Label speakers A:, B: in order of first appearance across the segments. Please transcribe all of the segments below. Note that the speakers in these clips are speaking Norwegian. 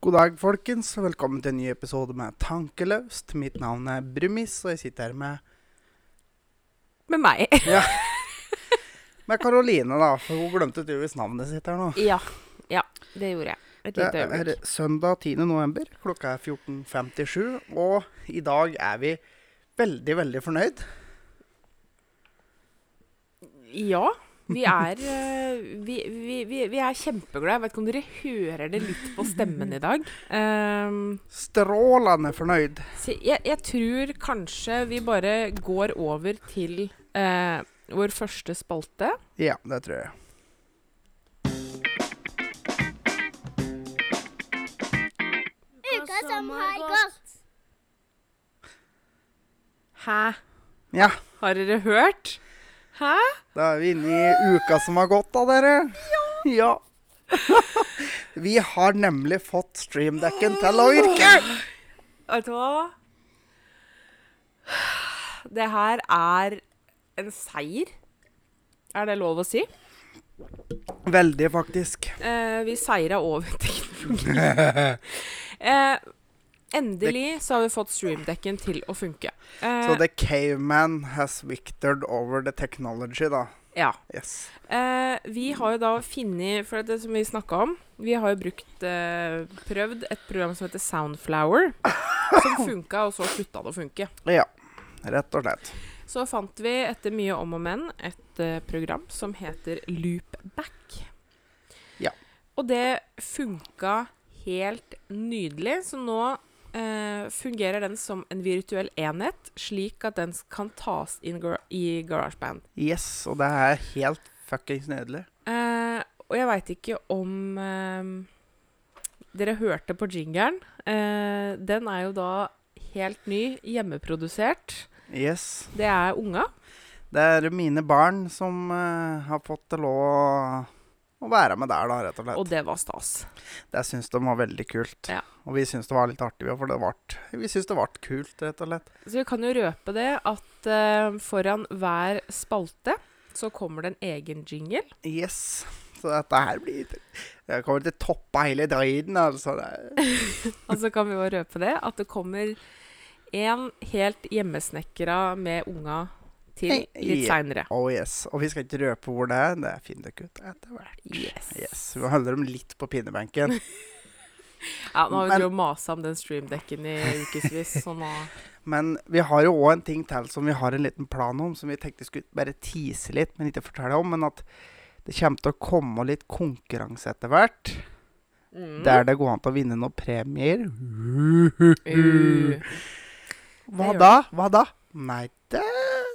A: God dag, folkens. Velkommen til en ny episode med Tankelaust. Mitt navn er Brumis, og jeg sitter her med,
B: Med meg.
A: med Karoline, da. For hun glemte tydeligvis navnet sitt her nå.
B: Ja. ja. Det gjorde jeg. Et
A: Det
B: lite
A: Eh, er
B: øyeblikk.
A: søndag 10. november, klokka er 14.57, og i dag er vi veldig, veldig fornøyd.
B: Ja. Vi er, eh, vi, vi, vi, vi er kjempeglade. Jeg vet ikke om dere hører det litt på stemmen i dag. Ehm,
A: Strålende fornøyd.
B: så jeg, jeg tror kanskje vi bare går over til eh, vår første spalte.
A: Ja, det tror jeg.
C: Uka som har gått.
B: Hæ?
A: Ja,
B: Har dere hørt? Hæ?
A: da er vi inne i uka som har gått, da, dere. Ja. vi har nemlig fått streamdekken til å virke.
B: Vet du hva? Det her er en seier. Er det lov å si?
A: Veldig, faktisk.
B: Eh, vi seira over teknologi. eh, endelig så har vi fått streamdekken til å funke. Eh,
A: Så the caveman has victored over the technology, da.
B: ja.
A: Yes.
B: eh, vi har jo da funnet For det som vi snakka om Vi har jo brukt eh, prøvd et program som heter Soundflower, som funka, og så slutta det å funke.
A: Ja, rett og slett.
B: Så fant vi etter mye om og men et eh, program som heter Loopback.
A: Ja.
B: Og det funka helt nydelig, så nå eh, fungerer den som en virtuell enhet, slik at den s- kan tas inn gar i GarageBand.
A: Yes, og det er helt fuckings nydelig.
B: Eh, og jeg veit ikke om eh, dere hørte på jingeren. Eh, den er jo da helt ny, hjemmeprodusert.
A: Yes.
B: Det er unga.
A: Det er mine barn som eh, har fått til å, å være med der, da, rett og slett.
B: Og det var stas.
A: Det syns de var veldig kult.
B: Ja.
A: Og vi syns det var litt artig, vi, for det vart, vi syns det vart kult, rett og slett.
B: Så vi kan jo røpe det at eh, foran hver spalte så kommer det en egen jingle.
A: Yes. Så dette her blir Det kommer til å toppe hele drøyden, altså. Det,
B: Og så kan vi jo røpe det at det kommer en helt hjemmesnekra med unga til litt
A: Ja.
B: seinere.
A: oh yes. Og vi skal ikke røpe hvor det er, det finner dere ut etter hvert.
B: Yes.
A: Yes, Vi holder dem litt på pinnebenken.
B: Ja, nå har vi
A: Men-
B: drevet og masa om den streamdekken i ukevis, så nå
A: Men vi har jo òg en ting til som vi har en liten plan om, som vi tenkte skulle bare tease litt, men ikke fortelle om. Men at det kommer til å komme litt konkurranse etter hvert.
B: mm.
A: Der det går an til å vinne noen premier.
B: Uh.
A: Hva
B: det gjør
A: da? Hva da? Nei, det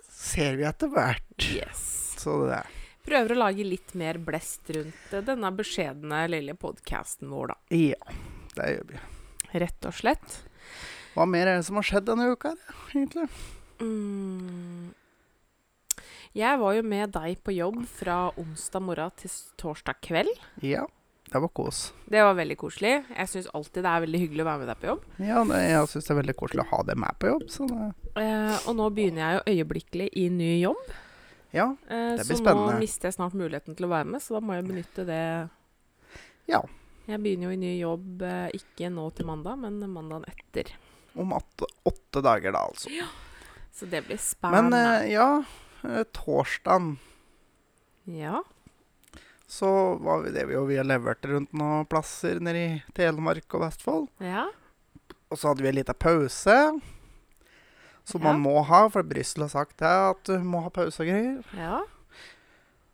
A: ser vi etter hvert.
B: Yes.
A: Så det
B: Prøver å lage litt mer blest rundt eh, denne beskjedne lille podkasten vår, da.
A: Ja, det gjør vi.
B: Rett og slett.
A: Hva mer er det som har skjedd denne uka, egentlig?
B: Mm. Jeg var jo med deg på jobb fra onsdag morgen til s- torsdag kveld.
A: Ja, det var kos.
B: Det var veldig koselig. Jeg syns alltid det er veldig hyggelig å være med deg på jobb.
A: Ja, det, jeg syns det er veldig koselig å ha det med på jobb. Så det,
B: Eh, og nå begynner jeg jo øyeblikkelig i ny jobb.
A: ja,
B: Eh,
A: Det blir
B: så
A: spennende.
B: nå mister jeg snart muligheten til å være med, så da må jeg benytte det.
A: Ja.
B: Jeg begynner jo i ny jobb eh, ikke nå til mandag, men mandagen etter.
A: om åtte, åtte dager, da, altså.
B: Så det blir
A: Men
B: spennende.
A: eh, ja, eh, torsdagen
B: ja.
A: så var vi det vi og vi har levert rundt noen plasser nede i Telemark og Vestfold.
B: ja.
A: Og så hadde vi en liten pause, som man
B: Ja.
A: må ha, for Brussel har sagt det, at du må ha pause og greier.
B: Ja.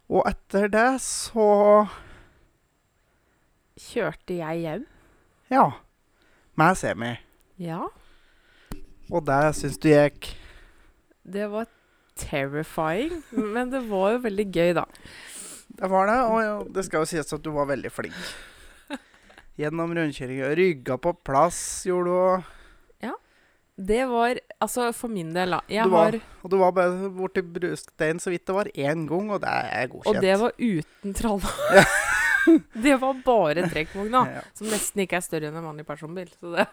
A: Og etter det så
B: Kjørte jeg hjem?
A: ja, meg semi.
B: Ja.
A: Og det syns du gikk
B: Det var terrifying, men det var jo veldig gøy, da.
A: Det var det, og ja, det skal jo sies at du var veldig flink. Gjennom rundkjøringa. Rygga på plass gjorde du. og-
B: Det var Altså, for min del, da. Jeg
A: Du var
B: har,
A: Og du var bare borti brusksteinen så vidt det var én gang, og det er godkjent.
B: og det var uten tralla. det var bare trekkvogn, da.
A: Ja.
B: Som nesten ikke er større enn en vanlig personbil. Så det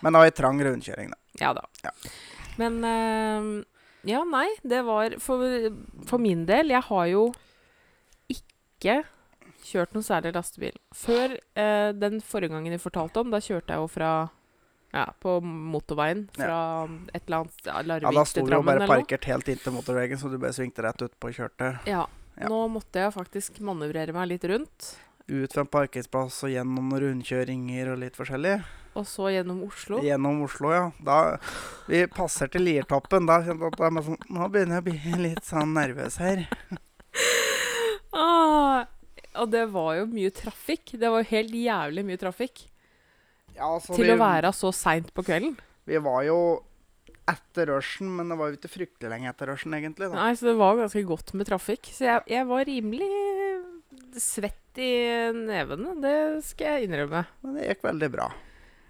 A: Men det var ei trang rundkjøring, da.
B: Ja da.
A: Ja.
B: Men eh, Ja, nei, det var for, for min del Jeg har jo ikke kjørt noe særlig lastebil. Før eh, den forrige gangen jeg fortalte om, da kjørte jeg jo fra ja, på motorveien fra et eller annet ja,
A: Ja,
B: Larvik
A: da sto du
B: til
A: jo
B: Drammen
A: bare
B: eller noe.
A: parkert helt inntil motorveien, så du bare svingte rett utpå og kjørte.
B: Ja.
A: Ja.
B: Nå måtte jeg faktisk manøvrere meg litt rundt.
A: Ut fra en parkeringsplass og gjennom noen rundkjøringer og litt forskjellig.
B: Og så gjennom Oslo.
A: Gjennom Oslo, ja. Da vi passerte Liertoppen, da kjente jeg at jeg var sånn, nå begynner jeg å bli litt sånn nervøs her.
B: Ah, og det var jo mye trafikk. Det var jo helt jævlig mye trafikk.
A: Ja, altså,
B: til
A: vi,
B: å være så seint på kvelden.
A: Vi var jo etter rushen, men det var jo ikke fryktelig lenge etter rushen, egentlig. da.
B: Nei, Så det var jo ganske godt med trafikk. Så jeg, jeg var rimelig svett i nevene. Det skal jeg innrømme.
A: Men det gikk veldig bra.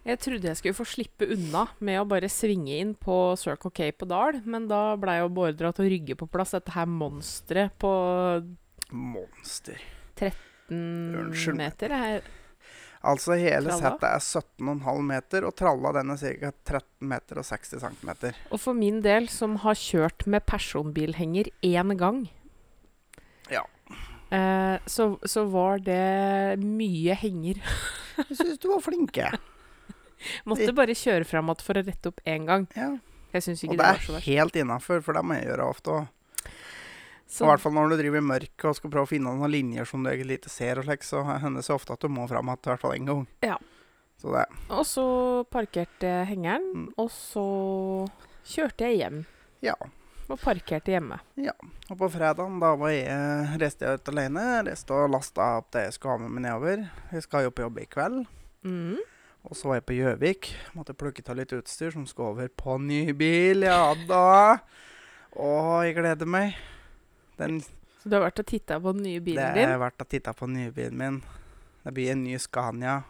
B: Jeg trodde jeg skulle få slippe unna med å bare svinge inn på Circle K på Dal, men da blei jeg jo beordra til å rygge på plass dette her monsteret på
A: Monster.
B: 13
A: Unnskyld meg.
B: meter. Jeg,
A: Altså hele
B: Tralla?
A: settet er 17,5 meter, og tralla den er ca. 13 meter og 60 cm.
B: og for min del, som har kjørt med personbilhenger én gang,
A: Ja.
B: eh, så, så var det mye henger.
A: Jeg syns du var flink, jeg.
B: Måtte bare kjøre fram igjen for å rette opp én gang.
A: Ja.
B: Jeg syns
A: Og
B: ikke
A: det
B: det
A: er
B: var så verst.
A: helt innafor, for det må jeg gjøre ofte òg. I
B: Så
A: hvert fall når du driver i mørket og skal prøve å finne noen linjer som du egentlig ikke ser, og slik, så hender det så ofte at du må fram igjen, i hvert fall én gang.
B: Ja.
A: Så det,
B: Og så parkerte jeg
A: Mm.
B: hengeren, og så kjørte jeg hjem.
A: Ja.
B: Og parkerte hjemme.
A: Og på fredagen da var jeg, eh, reiste jeg ut alene. Reiste og lasta opp det jeg skulle ha med meg nedover. Jeg skal jo på jobb i kveld.
B: Mm.
A: Og så var jeg på Gjøvik. Måtte plukke av litt utstyr som skal over på ny bil. Ja da. Å, jeg gleder meg. Den,
B: Så du har vært og titta på den nye
A: det
B: bilen
A: er verdt å titte på nybilen min. Det blir en ny Scania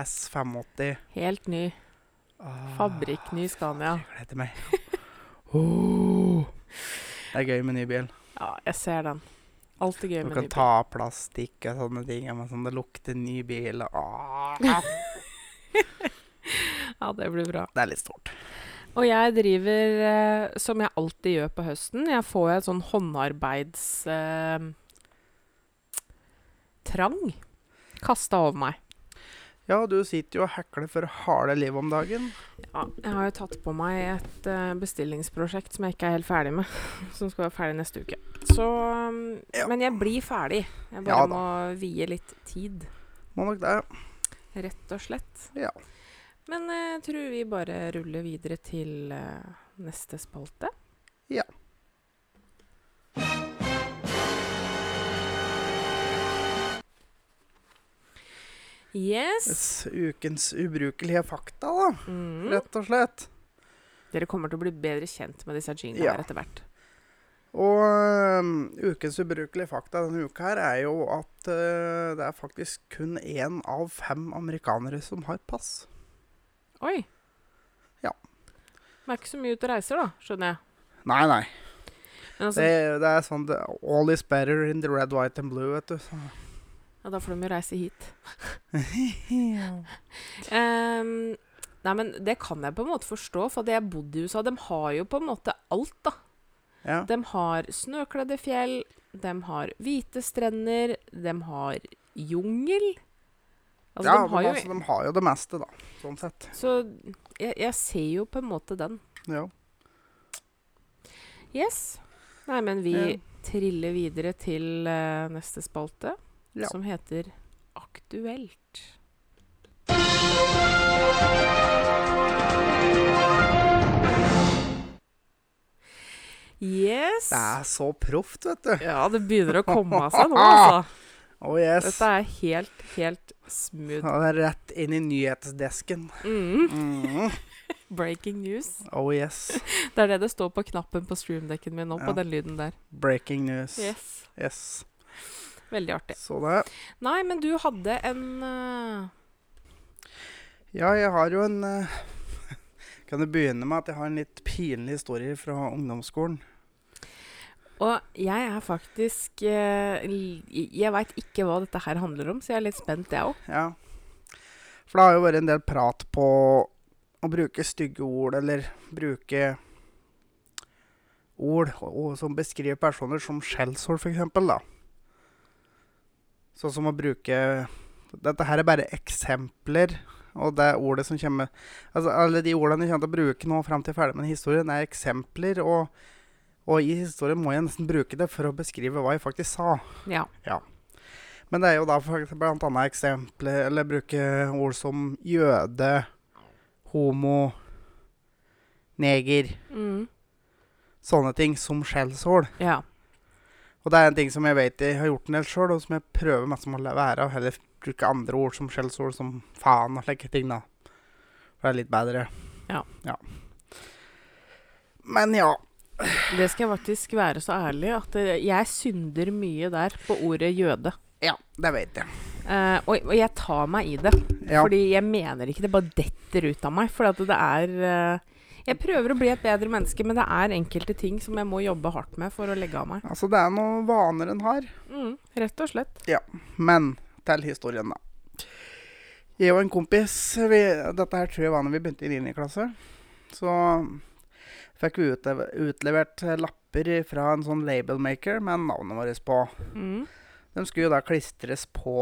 A: S580.
B: din? Helt ny.
A: Åh,
B: Fabrikkny Scania.
A: Jeg gleder meg. Åh. Det er gøy med ny bil.
B: Ja, jeg ser den. Alt er gøy
A: Du
B: med
A: kan
B: ny bil.
A: ta av plastikk og sånne ting. Men sånn, det lukter ny bil. og Åh.
B: Ja, det blir bra.
A: Det er litt stort.
B: Og jeg driver eh, som jeg alltid gjør på høsten. Jeg får jo et sånn håndarbeids... Eh, trang kasta over meg.
A: Ja, du sitter jo og hekler for harde liv om dagen.
B: Ja, jeg har jo tatt på meg et eh, bestillingsprosjekt som jeg ikke er helt ferdig med. Som skal være ferdig neste uke. Så um,
A: Ja.
B: Men jeg blir ferdig. Jeg bare
A: Ja da.
B: må vie litt tid,
A: Må nok det.
B: rett og slett.
A: Ja.
B: Men eh, jeg tror vi bare ruller videre til eh, neste spalte.
A: Ja.
B: Yes.
A: S- Ukens ubrukelige fakta, da.
B: Mm.
A: Rett og slett.
B: Dere kommer til å bli bedre kjent med disse jinglene
A: Ja.
B: her etter hvert.
A: Og øhm, ukens ubrukelige fakta denne uka her er jo at øh, det er faktisk kun én av fem amerikanere som har pass.
B: Oi.
A: Ja.
B: De er ikke så mye ute og reiser, da, skjønner jeg.
A: Nei, nei.
B: Men altså,
A: Det, det er sånn det, All is better in the red, white and blue, vet du. Så-
B: ja, da får de jo reise hit. Ehm, nei, men det kan jeg på en måte forstå, for at jeg bodde i USA. De har jo på en måte alt, da.
A: Ja.
B: De har snøkledde fjell, de har hvite strender, de har jungel. Altså,
A: ja,
B: de har
A: men
B: jo
A: altså, de har jo det meste, da. Sånn sett.
B: Så jeg, jeg ser jo på en måte den.
A: Ja.
B: Yes. Nei, men vi
A: Ja.
B: triller videre til eh, neste spalte,
A: Ja.
B: som heter Aktuelt. Yes.
A: Det er så proft, vet du.
B: Ja, det begynner å komme av seg nå, altså.
A: Oh yes.
B: Dette er helt, helt smooth.
A: Ja, det er rett inn i nyhetsdesken.
B: Mm.
A: Mhm.
B: Breaking news.
A: Oh yes.
B: Det er det det står på knappen på streamdekken min nå,
A: Ja.
B: på den lyden der.
A: Breaking news.
B: Yes.
A: Yes.
B: Veldig artig.
A: Så det.
B: Nei, men du hadde en eh,
A: Ja, jeg har jo en eh, Kan du begynne med at jeg har en litt pinlig historie fra ungdomsskolen?
B: Og jeg er faktisk eh, l- Jeg veit ikke hva dette her handler om, så jeg er litt spent, jeg òg.
A: Ja. For det har jo vært en del prat på å bruke stygge ord, eller bruke ord og, og, som beskriver personer som skjellsord, f.eks. Sånn som å bruke Dette her er bare eksempler, og det er ordet som kommer Altså, alle de ordene jeg kommer til å bruke nå fram til jeg er ferdig med historien, er eksempler, og, og i historien må jeg nesten bruke det for å beskrive hva jeg faktisk sa.
B: Ja.
A: Men det er jo da for- blant annet eksempler Eller bruke ord som jøde, homo, neger
B: Mm.
A: Sånne ting som skjellsord.
B: ja.
A: Og det er en ting som jeg vet jeg har gjort en del sjøl, og som jeg prøver masse å la være. Og heller bruke andre ord som skjellsord, som faen og slike ting, da. For det er litt bedre.
B: Ja.
A: Men ja.
B: Det skal jeg faktisk være så ærlig at eh, jeg synder mye der på ordet jøde.
A: Ja, det vet jeg.
B: Eh, og, og jeg tar meg i det.
A: Ja.
B: Fordi jeg mener ikke det bare detter ut av meg. For at det er eh, Jeg prøver å bli et bedre menneske, men det er enkelte ting som jeg må jobbe hardt med for å legge av meg.
A: Altså, det er noen vaner en har.
B: Mm, rett og slett.
A: Men til historien, da. Jeg og en kompis vi, Dette her tror jeg var da vi begynte i 9. klasse. Så fikk vi utle utlevert lapper fra en sånn labelmaker med navnet vårt på.
B: Mm.
A: De skulle jo da klistres på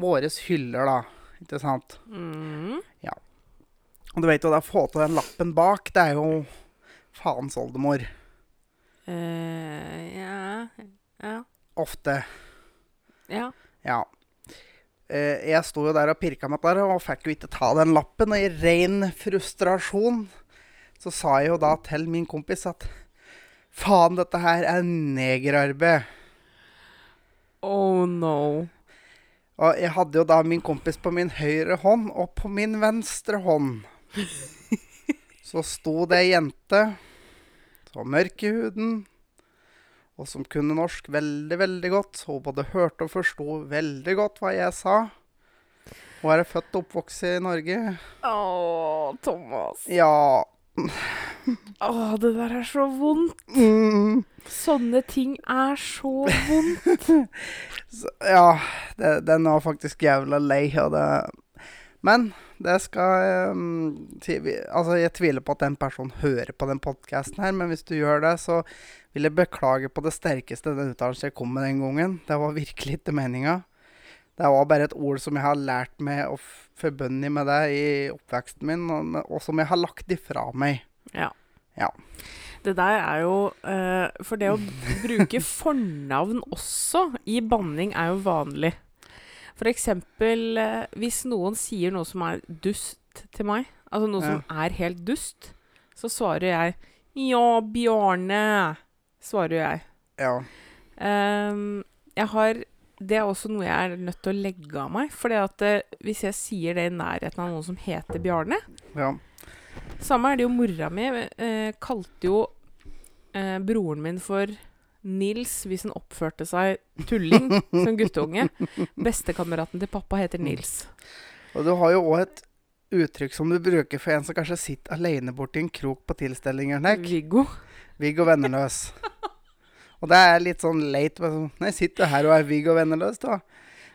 A: våre hyller, da. Ikke sant?
B: Mm.
A: Og du vet jo, da få til den lappen bak, det er jo faens oldemor.
B: Eh, ja. Ja.
A: Ofte.
B: ja.
A: Ja. Eh, Jeg sto jo der og pirka meg der, og fikk jo ikke ta den lappen. Og i ren frustrasjon så sa jeg jo da til min kompis at faen, dette her er negerarbeid.
B: Oh no.
A: Og jeg hadde jo da min kompis på min høyre hånd, og på min venstre hånd så sto det ei jente som var mørk i huden, og som kunne norsk veldig, veldig godt. Hun både hørte og forsto veldig godt hva jeg sa. Hun er født og oppvokst i Norge.
B: Å, Thomas.
A: Ja
B: Å, det der er så vondt.
A: mm,
B: Sånne ting er så vondt.
A: så, Ja, det, den var faktisk jævla lei. Og det, men det skal ehm, si- vi- Altså, jeg tviler på at den personen hører på den podkasten her, men hvis du gjør det, så vil jeg beklage på det sterkeste den uttalelsen jeg kom med den gangen. Det var virkelig ikke meninga. Det var bare et ord som jeg har lært meg og f- forbundet med det i oppveksten min, og, og som jeg har lagt ifra meg.
B: Det der er jo eh, For det å bruke fornavn også i banning er jo vanlig. For eksempel eh, hvis noen sier noe som er dust til meg, altså noe som er helt dust, så svarer jeg 'Ja, Bjarne', svarer jeg.
A: Ja.
B: Ehm, jeg har Det er også noe jeg er nødt til å legge av meg. For hvis jeg sier det i nærheten av noen som heter Bjarne
A: ja.
B: Samme er det jo mora mi. eh, kalte jo eh, broren min for Nils hvis han oppførte seg tulling som guttunge. Bestekameraten til pappa heter Nils.
A: Og du har jo òg et uttrykk som du bruker for en som kanskje sitter alene borti en krok på tilstelninger. Nick.
B: Viggo.
A: Viggo Venneløs. Og det er litt sånn leit. bare sånn, Nei, sitter du her og er Viggo Venneløs, da?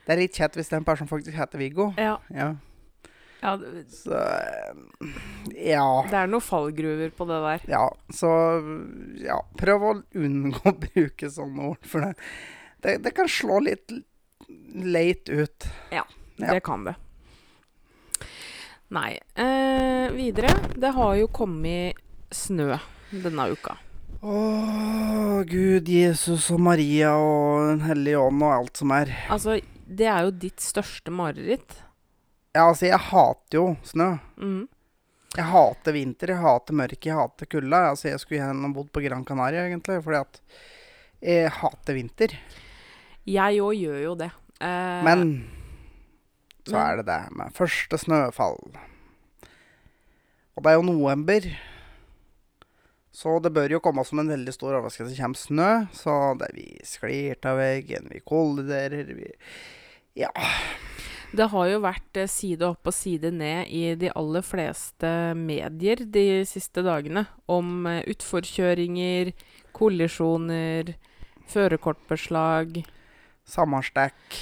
A: Det er litt kjett hvis den personen faktisk heter Viggo.
B: Ja,
A: Ja.
B: ja, det
A: Så eh, Ja.
B: det er noen fallgruver på det der.
A: Ja, så ja, prøv å unngå å bruke sånne ord, for det, det, det kan slå litt leit ut. Ja.
B: Det kan det. Nei. Eh, videre. Det har jo kommet snø denne uka.
A: Å, Gud, Jesus og Maria og Den hellige ånd og alt som er.
B: Altså, det er jo ditt største mareritt.
A: Ja, altså, jeg hater jo snø.
B: Mm.
A: Jeg hater vinter, jeg hater mørke, jeg hater kulda. Altså, jeg skulle gjerne bodd på Gran Canaria, egentlig, fordi at jeg hater vinter.
B: Jeg òg gjør jo det. Eh,
A: Men så er det det med første snøfall. Og det er jo november, så det bør jo komme som en veldig stor overraskelse. Det kommer snø, så det vi sklir av veggen, vi kolliderer, vi
B: Det har jo vært eh, side opp og side ned i de aller fleste medier de siste dagene om eh, utforkjøringer, kollisjoner, førerkortbeslag
A: Sammerstekk.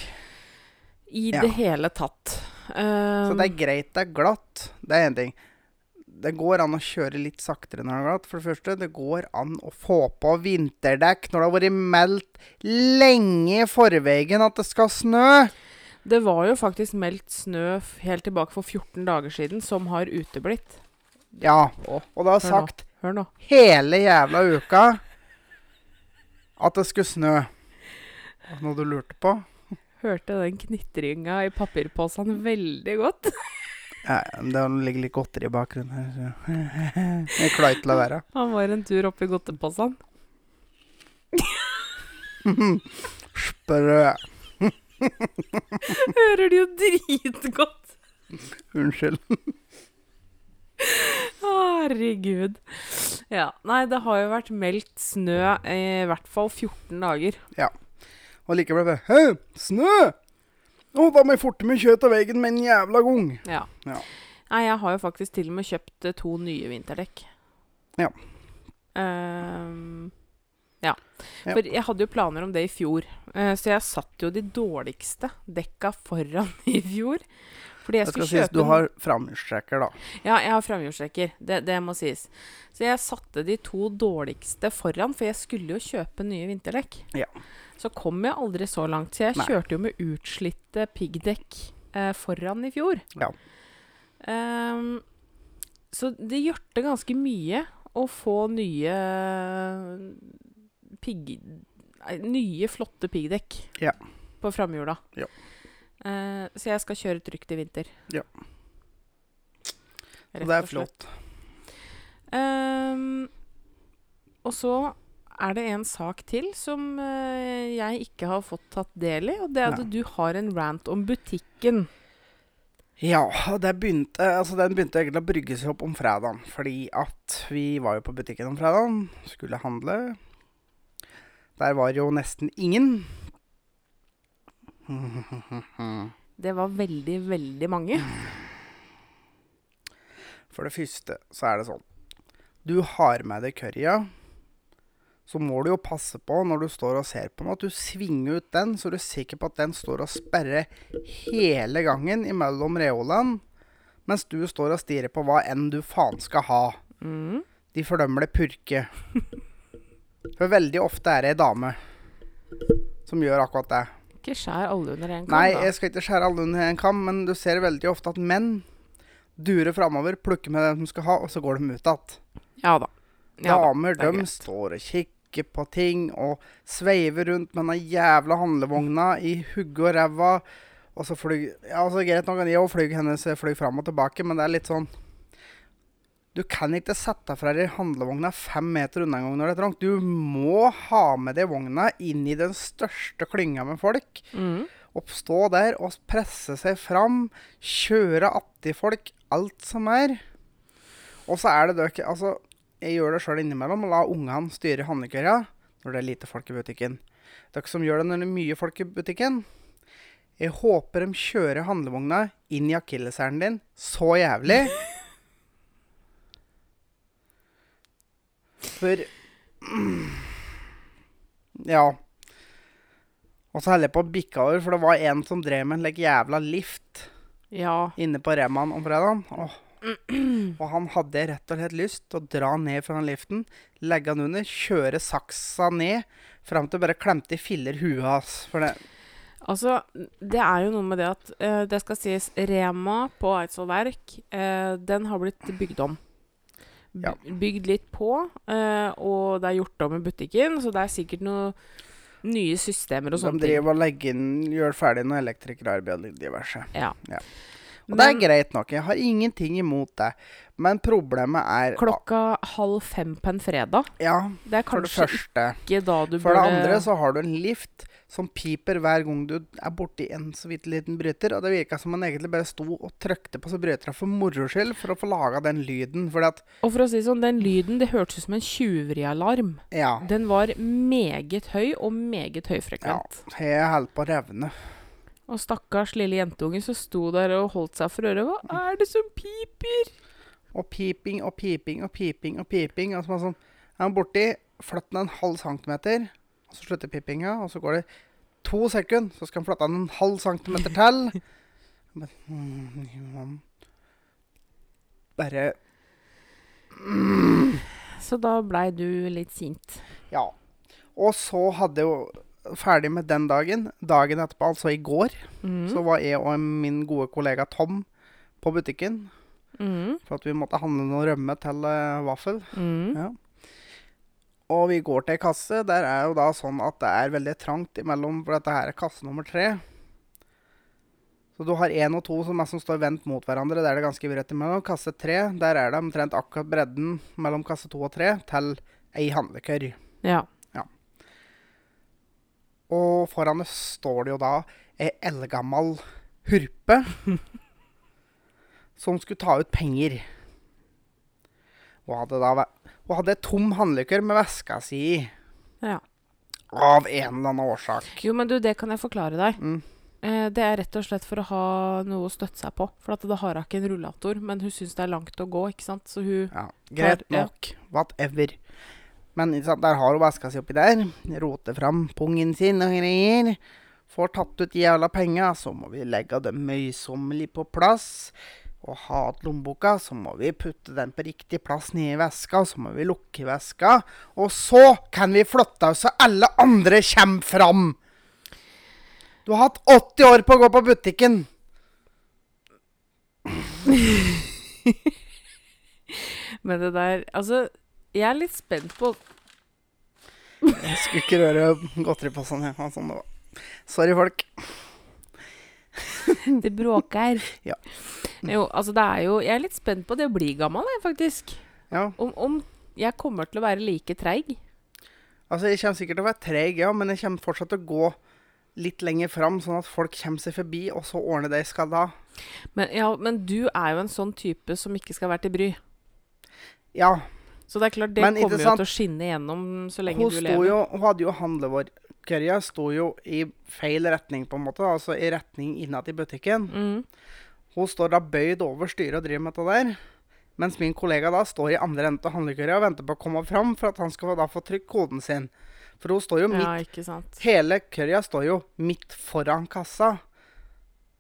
B: I
A: Ja.
B: det hele tatt. Um,
A: Så det er greit det er glatt, det er én ting. det går an å kjøre litt saktere når det er glatt. For det første, det går an å få på vinterdekk når det har vært meldt lenge i forveien at det skal snø.
B: Det var jo faktisk meldt snø f- helt tilbake for 14 dager siden, som har uteblitt.
A: Ja, og det har
B: Hør nå.
A: sagt
B: Hør nå.
A: hele jævla uka at det skulle snø. Og Noe du lurte på?
B: Hørte den knitringa i papirposene veldig godt.
A: Ja, det ligger litt godteri i bakgrunnen her. Så. Jeg klarer ikke til å la være.
B: Han var en tur opp i godteposene.
A: Sprø.
B: Hører det jo dritgodt!
A: Unnskyld.
B: Herregud. Ja. Nei, det har jo vært meldt snø i hvert fall 14 dager.
A: Og likevel bare Hæ, snø? Å, da må jeg forte meg kjøtt av veggen med en jævla gang.
B: Ja.
A: Ja.
B: Nei, jeg har jo faktisk til og med kjøpt eh, to nye vinterdekk.
A: Ja.
B: Ehm, ja.
A: Ja.
B: For jeg hadde jo planer om det i fjor, eh, så jeg satt jo de dårligste dekka foran i fjor. Fordi jeg
A: Det skal
B: skulle
A: sies,
B: kjøpe
A: du har framhjulstrekker, da.
B: Ja, jeg har framhjulstrekker. Det, det må sies. Så jeg satte de to dårligste foran, for jeg skulle jo kjøpe nye vinterdekk.
A: Ja.
B: Så kom jeg aldri så langt, så jeg
A: Nei.
B: kjørte jo med utslitte piggdekk eh, foran i fjor.
A: Ja.
B: Ehm, så det gjørte ganske mye å få nye pigg... nei, Nye, flotte piggdekk
A: Ja.
B: på framhjula.
A: Ja.
B: Eh, så jeg skal kjøre trygt i vinter.
A: Ja. Og
B: Rett
A: det
B: og
A: er
B: slett.
A: flott.
B: Ehm, og så er det en sak til som eh, jeg ikke har fått tatt del i, og det er at
A: Nei.
B: du har en rant om butikken.
A: Ja, og det begynte, altså den begynte egentlig å brygge seg opp om fredagen. Fordi at vi var jo på butikken om fredagen, skulle handle. Der var jo nesten ingen.
B: Det var veldig, veldig mange.
A: For det første så er det sånn. Du har med deg currya. Så må du jo passe på når du står og ser på den, at du svinger ut den, så du er sikker på at den står og sperrer hele gangen imellom reolene, mens du står og stirrer på hva enn du faen skal ha.
B: Mm.
A: De fordømmer det purke. For veldig ofte er det ei dame som gjør akkurat det.
B: Ikke skjær alle under en kam,
A: Nei,
B: da.
A: jeg skal ikke skjære alle under en kam, men du ser veldig ofte at menn durer framover, plukker med den de skal ha, og så går de ut igjen.
B: Ja da. Ja, da.
A: Damer,
B: det er
A: de
B: greit.
A: står og kikker på ting og sveiver rundt med den jævla handlevogna i hugge og ræva. Og så flyg Ja, altså greit nok at jeg òg flyr hennes eh, flyg fram og tilbake, men det er litt sånn Du kan ikke sette fra deg handlevogna fem meter unna en gang når det er trangt. Du må ha med deg vogna inn i den største klynga med folk.
B: Mm.
A: Oppstå der og presse seg fram. Kjøre atti folk. Alt som er. Og så er det døk, altså, Jeg gjør det sjøl innimellom. La ungene styre handlekøya når det er lite folk i butikken. Dere som gjør det når det er mye folk i butikken. Jeg håper de kjører handlevogna inn i akilleshælen din så jævlig. For Ja. Og så holder jeg på å bikke over, for det var en som drev med en like jævla lift
B: Ja.
A: inne på Remaen om fredagen. Åh. Og han hadde rett og slett lyst til å dra ned fra den liften, legge han under, kjøre saksa ned, fram til bare klemte i filler huet hans. For det,
B: Altså, det er jo noe med det at eh, det skal sies Rema på Eidsvoll Verk, eh, den har blitt bygd om. B
A: Ja.
B: Bygd litt på, eh, og det er gjort om i butikken, så det er sikkert noen nye systemer og
A: de
B: sånne ting.
A: driver og legger inn, gjør ferdig noe elektrikerarbeid og diverse.
B: Ja.
A: Ja. Og det er
B: Men
A: greit nok, jeg har ingenting imot det. Men problemet er
B: klokka halv fem på en fredag,
A: Ja,
B: det er
A: for det
B: kanskje
A: første.
B: ikke da du
A: For det
B: burde
A: andre så har du en lift som piper hver gang du er borti en så vidt liten bryter. Og det virka som han egentlig bare sto og trykte på så brytera for moro skyld, for å få laga den lyden. Fordi at
B: Og for å si det sånn, den lyden, det hørtes ut som en tjuverialarm.
A: Ja.
B: Den var meget høy, og meget høyfrekvent.
A: ja jeg holder på å revne.
B: Og stakkars lille jentunge som sto der og holdt seg for øret. Hva er det som piper?
A: Og piping og piping og piping og piping. Og så er han sånn Er han borti, flytt den en halv centimeter, og så slutter pipinga, og så går det to sekunder, så skal han flytte den en halv centimeter til. Jeg mm. bare, mm, ja. Bare
B: så da blei du litt sint.
A: Ja. Og så hadde jeg jo ferdig med den dagen. Dagen etterpå, altså i går,
B: Mhm.
A: så var jeg og min gode kollega Tom på butikken
B: Mhm.
A: for at vi måtte handle noe rømme til eh, vaffel.
B: Mhm.
A: Ja. Og vi går til kasse. Der er jo da sånn at det er veldig trangt imellom, for dette her er kasse nummer tre. Så du har én og to som, er som står vendt mot hverandre. Der er det ganske bredt imellom. Kasse tre, der er det omtrent akkurat bredden mellom kasse to og tre til ei handlekørr.
B: ja.
A: Og foran oss står det jo da ei eldgammel hurpe som skulle ta ut penger. Hun hadde da væ- hun hadde et tom handlekør med veska si i,
B: Ja.
A: av en eller annen årsak.
B: Jo, men du, det kan jeg forklare deg.
A: Mm.
B: Eh, Det er rett og slett for å ha noe å støtte seg på. For at da har hun ikke en rullator, men hun syns det er langt å gå, ikke sant. Så hun
A: Ja, greit
B: ja.
A: nok. Whatever. Men ikke sant, der har hun veska si oppi der. Roter fram pungen sin og greier. Får tatt ut jævla penga, så må vi legge dem møysommelig på plass. Og ha att lommeboka, så må vi putte den på riktig plass nedi veska. Så må vi lukke veska. Og så kan vi flytte oss, så alle andre kommer fram! Du har hatt 80 år på å gå på butikken!
B: Men det der Altså, jeg er litt spent på
A: Jeg skulle ikke røre godteri på sånn. ja, sånn det var. Sorry, folk.
B: Det bråker.
A: Ja.
B: Jo, altså det er jo Jeg er litt spent på det å bli gammel, jeg, faktisk.
A: Ja.
B: Om, om jeg kommer til å være like treig.
A: Altså, jeg kommer sikkert til å være treg, ja, men jeg kommer fortsatt til å gå litt lenger fram, sånn at folk kommer seg forbi, og så ordner de skal da.
B: Men, ja, men du er jo en sånn type som ikke skal være til bry.
A: Ja,
B: Så det er klart, det
A: Men ikke
B: kommer jo
A: sant?
B: til å skinne gjennom så lenge
A: hun,
B: du
A: sto
B: lever.
A: jo, hun hadde jo handlevarkørja, sto jo i feil retning på en måte, da, altså i retning innad i butikken.
B: Mm.
A: Hun står da bøyd over styret og driver med dette der, mens min kollega da står i andre enden av handlekørja og venter på å komme fram for at han skal da få trykt koden sin. For hun står jo midt,
B: Ja, ikke sant.
A: hele kørja står jo midt foran kassa.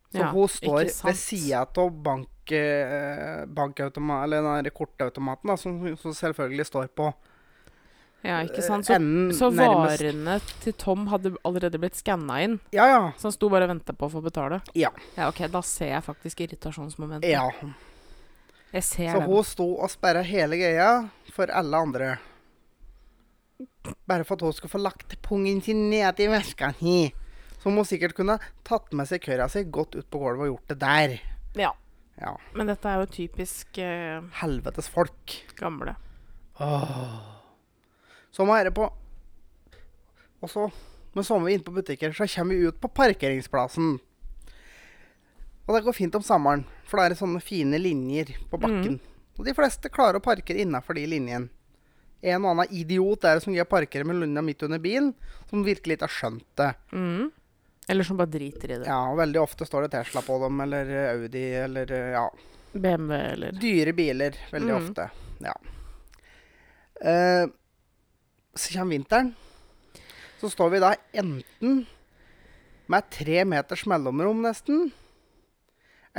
A: Så
B: Ja,
A: hun står
B: ikke sant.
A: ved sida av bank, eh, bankautomat, eller den der kortautomaten, da, som, som selvfølgelig står på
B: Ja, ikke sant.
A: eh,
B: Så,
A: enden
B: så
A: nærmest.
B: varene til Tom hadde allerede blitt skanna inn,
A: Ja, ja.
B: så han sto bare og venta på å få betale?
A: Ja.
B: Ja, OK, da ser jeg faktisk irritasjonsmomentet.
A: ja.
B: Jeg ser
A: Så
B: den.
A: hun sto og sperra hele greia for alle andre. Bare for at hun skulle få lagt pungen sin ned i veska si. Som hun sikkert kunne tatt med seg køra si godt ut på gulvet og gjort det der.
B: Ja.
A: Ja.
B: Men dette er jo typisk eh,
A: Helvetes folk.
B: gamle.
A: Så må dere på Og så, men så må vi inn på butikker, så kommer vi ut på parkeringsplassen. Og det går fint om sommeren, for da er det sånne fine linjer på bakken. Og de fleste klarer å parkere innafor de linjene. En og annen idiot er det som greier å parkere med lunda midt under bilen, som virkelig ikke har skjønt det.
B: Mm. Eller som bare driter i det.
A: Ja, og Veldig ofte står det Tesla på dem, eller eh, Audi, eller eh, ja.
B: BMW eller
A: Dyre biler, veldig
B: Mm.
A: ofte. Ja. Eh, så kommer vinteren. Så står vi da enten med tre meters mellomrom, nesten.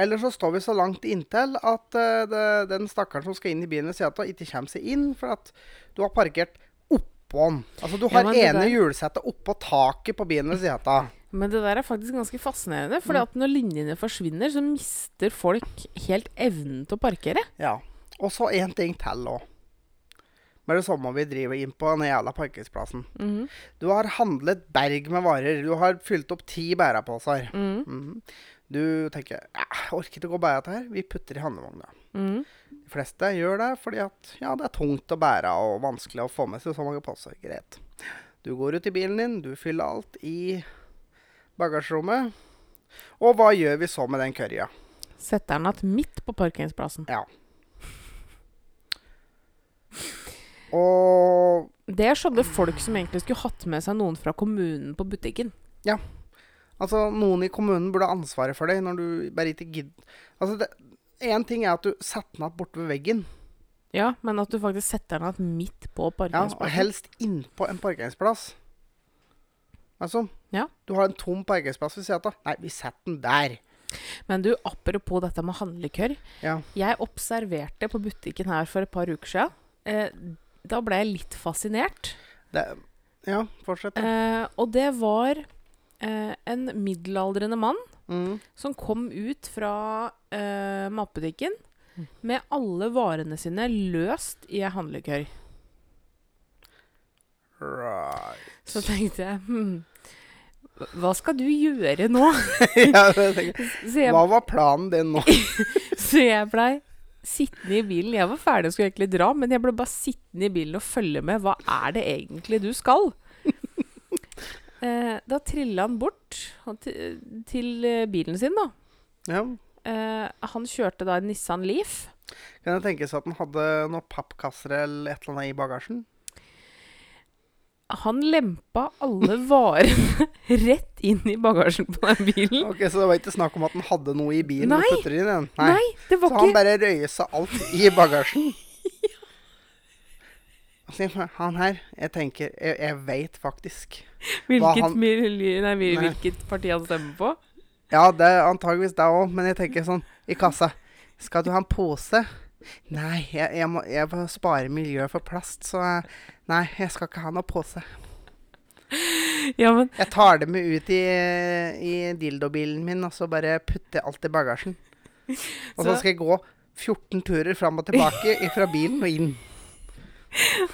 A: Eller så står vi så langt inntil at eh, det, den stakkaren som skal inn i bilen ved siden av, ikke kommer seg inn, for at du har parkert oppå den. Altså, du
B: Ja,
A: har
B: men det
A: ene
B: der-
A: hjulsetet oppå taket på bilen ved siden av.
B: Men det der er faktisk ganske fascinerende,
A: Mm.
B: for at når linjene forsvinner, så mister folk helt evnen til å parkere.
A: Ja. Og så en ting til òg. Med det samme vi driver inn på den jævla parkeringsplassen. Du har handlet berg med varer. Du har fylt opp ti bæreposer.
B: Mhm.
A: Mhm. Du tenker ja, jeg orker ikke å gå og bære dette her. Vi putter i handlevogna.
B: Mhm.
A: De fleste gjør det fordi at ja, det er tungt å bære og vanskelig å få med seg så mange poser. Greit. Du går ut i bilen din, du fyller alt i bagasjerommet. Og hva gjør vi så med den kørja?
B: Setter den igjen midt på parkeringsplassen.
A: Og
B: Det er sånne folk som egentlig skulle hatt med seg noen fra kommunen på butikken.
A: Altså, noen i kommunen burde ha ansvaret for deg når du bare ikke gidder Altså, det, en ting er at du setter den opp borte ved veggen,
B: Ja, men at du faktisk setter den igjen midt på
A: ja, og
B: parkeringsplassen.
A: helst innpå en parkeringsplass. Altså,
B: Ja.
A: du har en tom parkeringsplass ved siden av. Nei, vi setter den der.
B: men du, apropos dette med handlekørr.
A: Ja.
B: Jeg observerte på butikken her for et par uker siden. Eh, Da ble jeg litt fascinert.
A: Det, ja, fortsett. da.
B: Eh, og det var eh, en middelaldrende mann
A: Mm.
B: som kom ut fra eh, matbutikken
A: Mm.
B: med alle varene sine løst i ei handlekøy.
A: Right.
B: Så tenkte jeg hm, Hva skal du gjøre nå?
A: ja, jeg tenker,
B: Så jeg,
A: hva var planen din nå?
B: så jeg blei sittende i bilen. Jeg var ferdig og skulle egentlig dra, men jeg ble bare sittende i bilen og følge med. Hva er det egentlig du skal? Eh, da trilla han bort han til, til eh, bilen sin, da.
A: Ja,
B: Eh, han kjørte da en Nissan Leaf.
A: kan det tenkes at den hadde noen pappkasser eller et eller annet i bagasjen?
B: Han lempa alle varene rett inn i bagasjen på den bilen.
A: Ok, Så det var ikke snakk om at den hadde noe i bilen? og
B: Mm. Nei.
A: putter inn den.
B: Nei, det var
A: Så han
B: ikke
A: bare røysa alt i bagasjen. Altså, han her Jeg tenker Jeg, jeg veit faktisk. hva
B: hvilket,
A: han-
B: miljø- nei, hvil-
A: Nei.
B: hvilket parti han stemmer på.
A: Ja, det er antageligvis deg òg, men jeg tenker sånn i kassa Skal du ha en pose? Nei, jeg, jeg, må, jeg må spare miljøet for plast, så eh, Nei, jeg skal ikke ha noen pose.
B: Ja, men
A: Jeg tar det med ut i, i dildobilen min, og så bare putter jeg alt i bagasjen. Og så
B: Så-
A: skal jeg gå 14 turer fram og tilbake fra bilen og inn.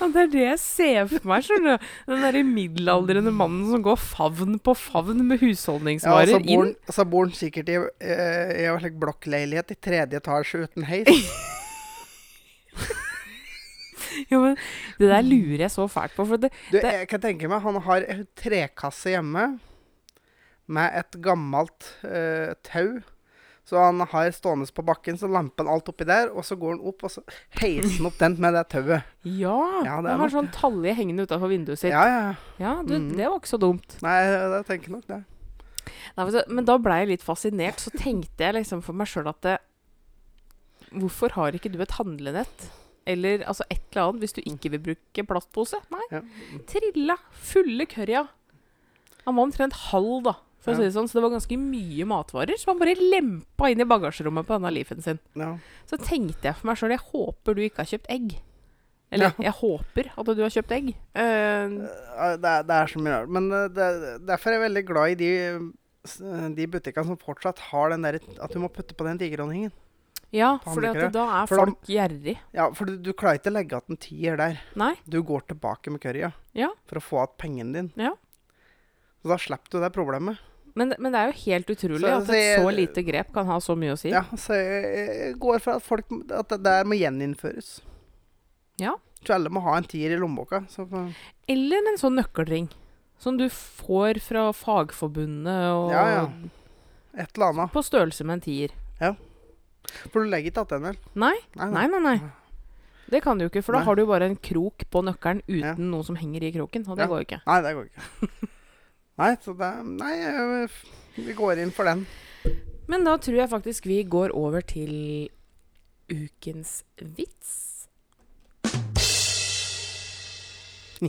B: ja, det er det jeg ser for meg. skjønner du. Den derre middelaldrende mannen som går favn på favn med
A: Ja, altså, og
B: husholdningsvarer
A: så bor
B: inn.
A: han- Så bor han sikkert i, eh, i en slik blokkleilighet i tredje etasje uten heis.
B: Ja, men det der lurer jeg så fælt på. For det,
A: Du,
B: Det-
A: jeg kan tenke meg, han har en trekasse hjemme med et gammelt eh, tau. Så han har stående på bakken, så lampen alt oppi der, og så går han opp, og så heiser han opp den med det tauet.
B: ja,
A: Ja, det er nok
B: han har sånn talje hengende utafor vinduet sitt. Ja,
A: Ja, ja.
B: du,
A: Mhm.
B: det var ikke så dumt.
A: Nei, jeg jeg tenker nok det.
B: Nei, men så- men da ble jeg litt fascinert, så tenkte jeg liksom for meg sjøl at det, Hvorfor har ikke du et handlenett? Eller altså et eller annet hvis du ikke vil bruke plastpose? Nei,
A: Ja.
B: trilla fulle kørja. Han var omtrent halv, da, for å
A: Ja.
B: si det sånn, så det var ganske mye matvarer som han bare lempa inn i bagasjerommet på denne Leafen sin.
A: Ja.
B: Så tenkte jeg for meg sjøl jeg håper du ikke har kjøpt egg. Eller jeg håper at du har kjøpt egg. Eh,
A: Eh, Det, er- det er så mye rart. Men eh, det, derfor er jeg veldig glad i de, s- de butikkene som fortsatt har den der at du må putte på den digerdronningen.
B: ja,
A: Faen,
B: for
A: det er ikke det.
B: da er
A: For da-
B: folk gjerrig.
A: Ja, for du, du klarer ikke å legge igjen en tier der.
B: Nei.
A: Du går tilbake med currya
B: Ja.
A: for å få igjen pengene din.
B: Ja.
A: Så da slipper du det problemet.
B: Men, men det er jo helt utrolig
A: Så-
B: at
A: så
B: et
A: jeg-
B: så lite grep kan ha så mye å si.
A: Ja, så jeg jeg går fra at, folk, at det der må gjeninnføres.
B: Ja.
A: Så alle må ha en tier i lommeboka. Så på-
B: Eller en sånn nøkkelring som du får fra fagforbundet og
A: Ja, ja. et eller annet.
B: på størrelse med en tier.
A: For du legger ikke igjen den, vel?
B: Nei, Nei, nei, nei. Det kan du jo ikke, for da
A: Nei.
B: har du jo bare en krok på nøkkelen uten
A: Ja.
B: noe som henger i kroken, og det
A: Ja.
B: går jo ikke.
A: Nei, det går ikke. nei, så det Nei, jeg- vi går inn for den.
B: Men da tror jeg faktisk vi går over til ukens vits.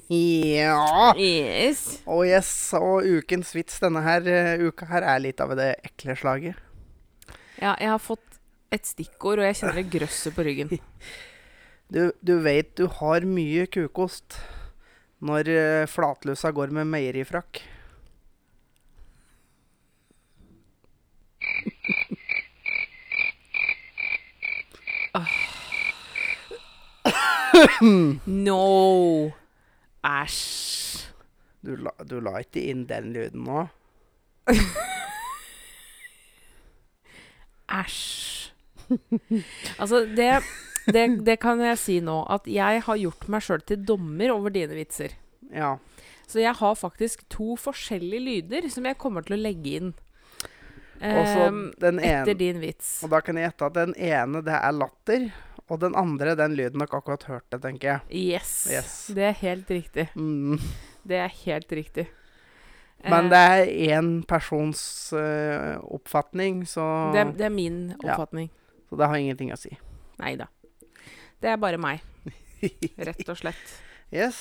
A: Ja!
B: Yes.
A: Og yes, og ukens vits denne her eh, uka her er litt av det ekle slaget.
B: Ja, jeg har fått et stikkord, og jeg kjenner det grøsset på ryggen.
A: Du, du veit du har mye kukost når eh, flatlusa går med meierifrakk.
B: No! Æsj.
A: Du la, du la ikke inn den lyden nå.
B: Æsj. Altså, det, det, det kan jeg si nå, at jeg har gjort meg sjøl til dommer over dine vitser.
A: Ja.
B: Så jeg har faktisk to forskjellige lyder som jeg kommer til å legge inn.
A: Og så
B: ehm,
A: den
B: etter
A: ene
B: din vits.
A: Og da kan jeg gjette at den ene, det er latter. Og den andre, den lyden dere akkurat hørte, tenker jeg.
B: Yes.
A: Yes.
B: Det er helt riktig.
A: Mm.
B: Det er helt riktig.
A: Men
B: Eh,
A: det er én persons eh, oppfatning, så
B: det, er- det er min
A: Ja.
B: oppfatning.
A: så det har ingenting å si.
B: Nei da. Det er bare meg. Rett og slett.
A: Yes.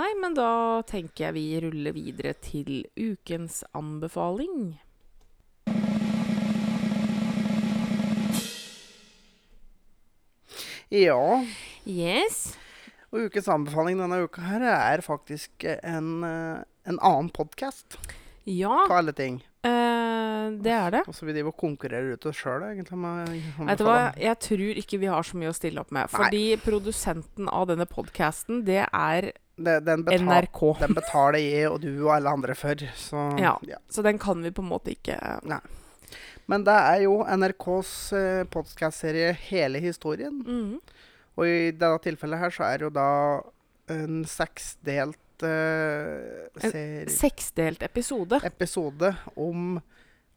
B: Nei, men da tenker jeg vi ruller videre til ukens anbefaling.
A: Ja.
B: Yes.
A: Og ukens anbefaling denne uka her er faktisk en, eh, en annen podkast
B: Ja,
A: på alle ting.
B: eh, det er det.
A: Og så vi driver og konkurrerer ut oss sjøl, egentlig. Med
B: Vet du hva, jeg tror ikke vi har så mye å stille opp med. Fordi produsenten av denne podkasten, det er
A: Det, den, betal,
B: NRK.
A: den betaler jeg og du og alle andre for, så
B: Ja. Så den kan vi på en måte ikke
A: Men det er jo NRKs eh, podkastserie Hele historien.
B: Mhm.
A: Og i dette tilfellet her så er det jo da en seksdelt eh,
B: En
A: serie,
B: Seksdelt episode.
A: episode om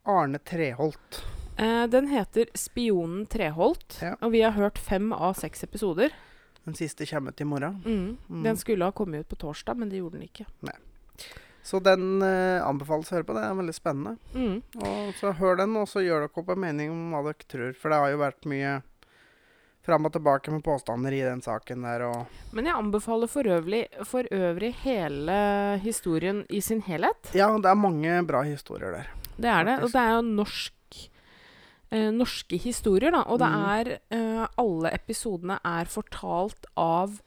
A: Arne Treholt.
B: Eh, den heter 'Spionen Treholt',
A: Ja.
B: og vi har hørt fem av seks episoder.
A: Den siste kommer ut i morgen.
B: Mhm.
A: Mm.
B: Den skulle ha kommet ut på torsdag, men det gjorde den ikke.
A: Så den eh, anbefales å høre på. Det er veldig spennende.
B: Mhm.
A: Og så hør den, og så gjør dere opp en mening om hva dere tror. For det har jo vært mye fram og tilbake med påstander i den saken der. Og
B: Men jeg anbefaler for øvrig, for øvrig hele historien i sin helhet.
A: ja, det er mange bra historier der.
B: Det er det. Og
A: Faktisk.
B: det er jo norsk eh, norske historier, da. Og det
A: Mm.
B: er eh, Alle episodene er fortalt av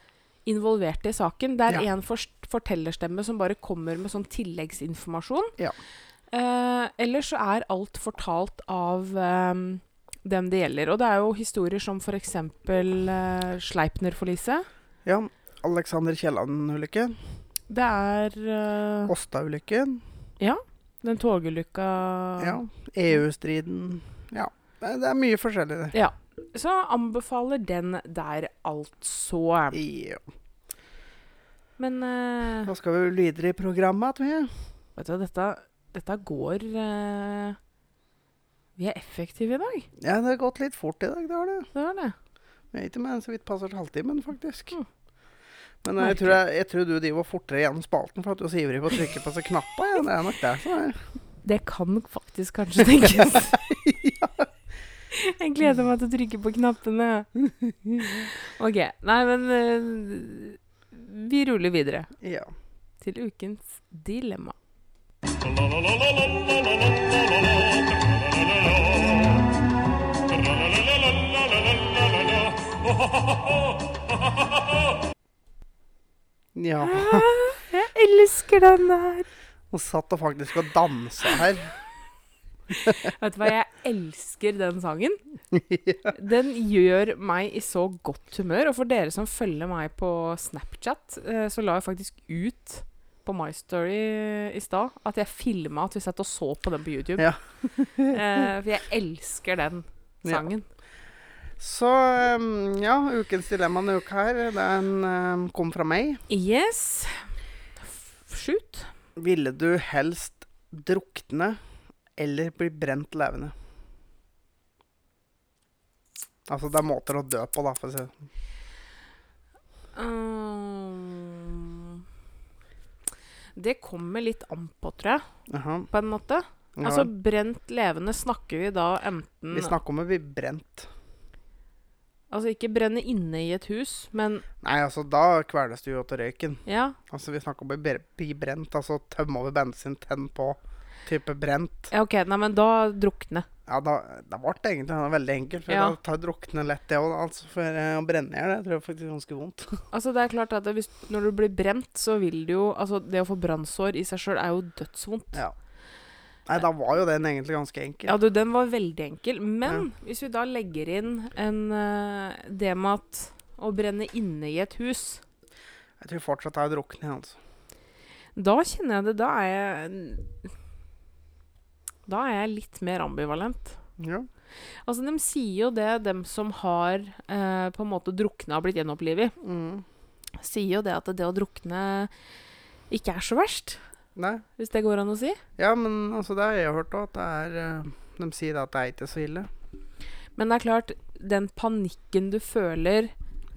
B: involverte i saken. Det er
A: Ja.
B: en forst- fortellerstemme som bare kommer med sånn tilleggsinformasjon.
A: Ja.
B: Eh, ellers så er alt fortalt av eh, dem det gjelder. Og det er jo historier som f.eks. Uh, Sleipner-forliset.
A: Ja, Alexander Kielland-ulykken.
B: Det er eh,
A: Åsta-ulykken.
B: den togulykka
A: Ja. EU-striden. E Ja. Det det er mye forskjellig der.
B: Så anbefaler den der, altså.
A: Ja.
B: Men eh,
A: Da skal vi jo videre i programmet. tror jeg.
B: Vet du, hva, dette, dette går eh, Vi er effektive i dag.
A: Ja, det har gått litt fort i dag, det har det.
B: Det er det.
A: Jeg er ikke med så vidt passer halvtimen, faktisk.
B: Mm.
A: Men jeg tror, jeg, jeg tror du driver fortere gjennom spalten for at du er så ivrig på å trykke på så knappa. Ja. Det er nok det som er.
B: Det kan faktisk kanskje tenkes. Jeg gleder meg til å trykke på knappene. OK. Nei, men eh, vi ruller videre
A: Ja.
B: til ukens dilemma.
A: ja.
B: Jeg elsker den der.
A: Hun satt og faktisk og dansa her.
B: Vet du hva, jeg elsker den sangen. Den gjør meg i så godt humør. Og for dere som følger meg på Snapchat, eh, så la jeg faktisk ut på My Story eh, i stad at jeg filma at vi satt og så på den på YouTube.
A: Ja.
B: Eh, for jeg elsker den
A: Ja.
B: sangen.
A: Så um, ja, ukens dilemma denne uka her, den um, kom fra meg.
B: Yes. F- Shoot.
A: Ville du helst drukne eller bli brent levende? Altså, det er måter å dø på, da. For å si. det.
B: Um, det kommer litt an på, tror jeg,
A: Jaha.
B: på en måte.
A: Ja,
B: Altså
A: vel.
B: brent levende snakker vi da enten
A: vi snakker om å bli brent.
B: Altså ikke brenne inne i et hus, men
A: Nei, altså, da kveles du jo til røyken.
B: ja.
A: Altså, vi snakker om å bli bre- bli brent. Altså tømme over bensin, tenn på. Type brent.
B: ja OK, nei, men da drukne.
A: Ja, da, da ble det egentlig veldig enkelt. For
B: Ja.
A: da tar drukne lett, det òg. Altså, for eh, å brenne i hjel, det tror jeg faktisk er ganske vondt.
B: Altså det er klart at hvis, Når du blir brent, så vil du jo Altså det å få brannsår i seg sjøl er jo dødsvondt.
A: Ja. Nei, da var jo den egentlig ganske enkel.
B: Ja, du, den var veldig enkel. Men hvis vi da legger inn en, eh, det med at å brenne inne i et hus
A: Jeg tror fortsatt jeg drukner, jeg, altså.
B: Da kjenner jeg det Da er jeg Da er jeg litt mer ambivalent.
A: Ja.
B: Altså, de sier jo det, dem som har eh, på en måte drukna og blitt gjenopplivet.
A: Mm.
B: sier jo det at det å drukne ikke er så verst,
A: Nei.
B: hvis det går an å si.
A: Ja, men altså, det har jeg hørt òg, at det er eh, De sier det at det er ikke så ille.
B: Men det er klart, den panikken du føler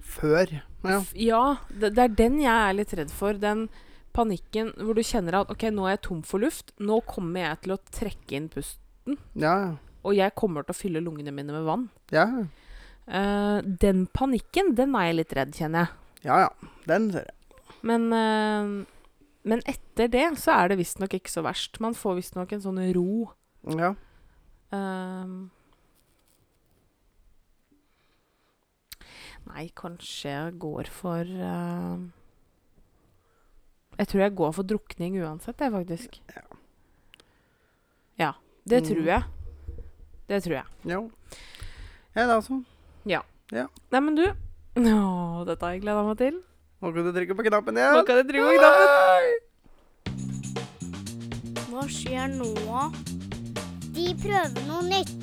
A: Før. Ja.
B: f- ja det, det er den jeg er litt redd for. Den panikken hvor du kjenner at OK, nå er jeg tom for luft. Nå kommer jeg til å trekke inn pust.
A: Ja,
B: Og jeg kommer til å fylle lungene mine med vann.
A: ja.
B: Eh, den panikken, den er jeg litt redd, kjenner jeg.
A: Ja, ja. Den ser jeg.
B: Men, eh, men etter det så er det visstnok ikke så verst. Man får visstnok en sånn ro.
A: Ja.
B: Ehm. Nei, kanskje jeg går for eh, Jeg tror jeg går for drukning uansett, jeg, faktisk.
A: Ja.
B: Ja. Det
A: Mm.
B: tror jeg. Det tror jeg.
A: Jo. Ja, det altså.
B: Nei, men du Å, dette har jeg gleda meg til.
A: Nå kan du trykke på knappen
B: Nå
A: igjen.
B: kan jeg drive og knappen.
C: Hva skjer nå? De prøver noe nytt.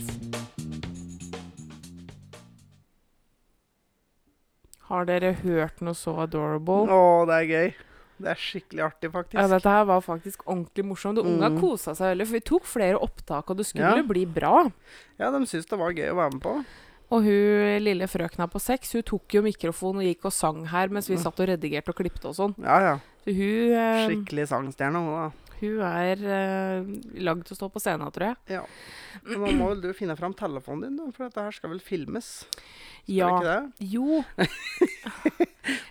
B: Har dere hørt noe så adorable?
A: Å, det er gøy. Det er skikkelig artig, faktisk.
B: Ja, dette her var faktisk ordentlig morsomt. Og unga
A: Mm.
B: kosa seg veldig, for vi tok flere opptak, og det skulle
A: Ja.
B: bli bra.
A: Ja, de syntes det var gøy å være med på.
B: Og hun lille frøkna på seks, hun tok jo mikrofonen og gikk og sang her mens vi
A: Mm.
B: satt og redigerte og klippte og sånn.
A: Ja, ja.
B: Så hun, eh,
A: Skikkelig sangstjerne, hun da.
B: hun er eh, lagd til å stå på scenen, tror jeg.
A: Ja. Men nå må vel du finne fram telefonen din, da, for dette her skal vel filmes? Skal
B: Ja.
A: det ikke det?
B: Jo.